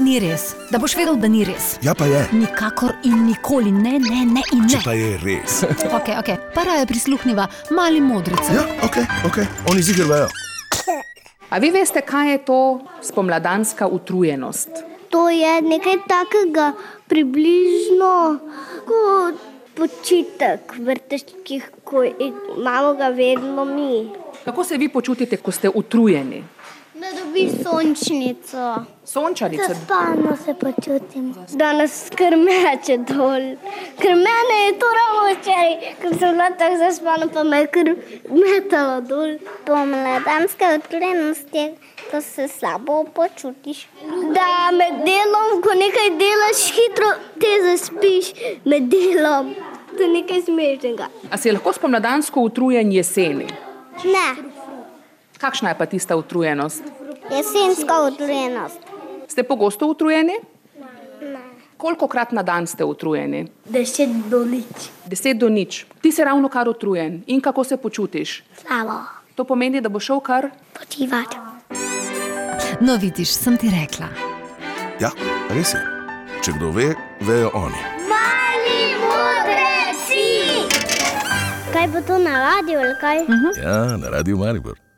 ni res, da boš vedel, da ni res. Ja, pa je. Nikakor in nikoli ne, ne, ne in Če ne. pa je res. Okay, okay. Para je prisluhnila mali modrici. Ja, ok, ok, oni zigrajo. A vi veste, kaj je to spomladanska utrujenost? To je nekaj takega, približno kot počitek vrteških, ko imamo ga vedno mi. Kako se vi počutite, ko ste utrujeni? Da dobiš sončnico, Sončarice, spano se počutim. Danes krmeče dol. Krmene je to ravno včeraj, ker sem bila tako zaspana, pa me je krmetalo dol. Pomladanska odklenost je, ko se slabo počutiš. Da med delom, ko nekaj delaš, hitro te zaspiš med delom. To je nekaj smešnega. a si je lahko spomladansko utrujen jeseni? Ne, Kakšna je pa tista utrujenost? jesenska odklenost. Ste pogosto utrujeni? Ne. Kolikokrat na dan ste utrujeni? Deset do nič. Deset do nič. Ti si ravno kar utrujen in kako se počutiš? Slabo. To pomeni, da bo šel kar Počivati. No, vidiš, sem ti rekla. Ja, res je. Če kdo ve, vejo oni. Mali modreci! Kaj bo to na radiju ali kaj? Ja, na radiju Maribor.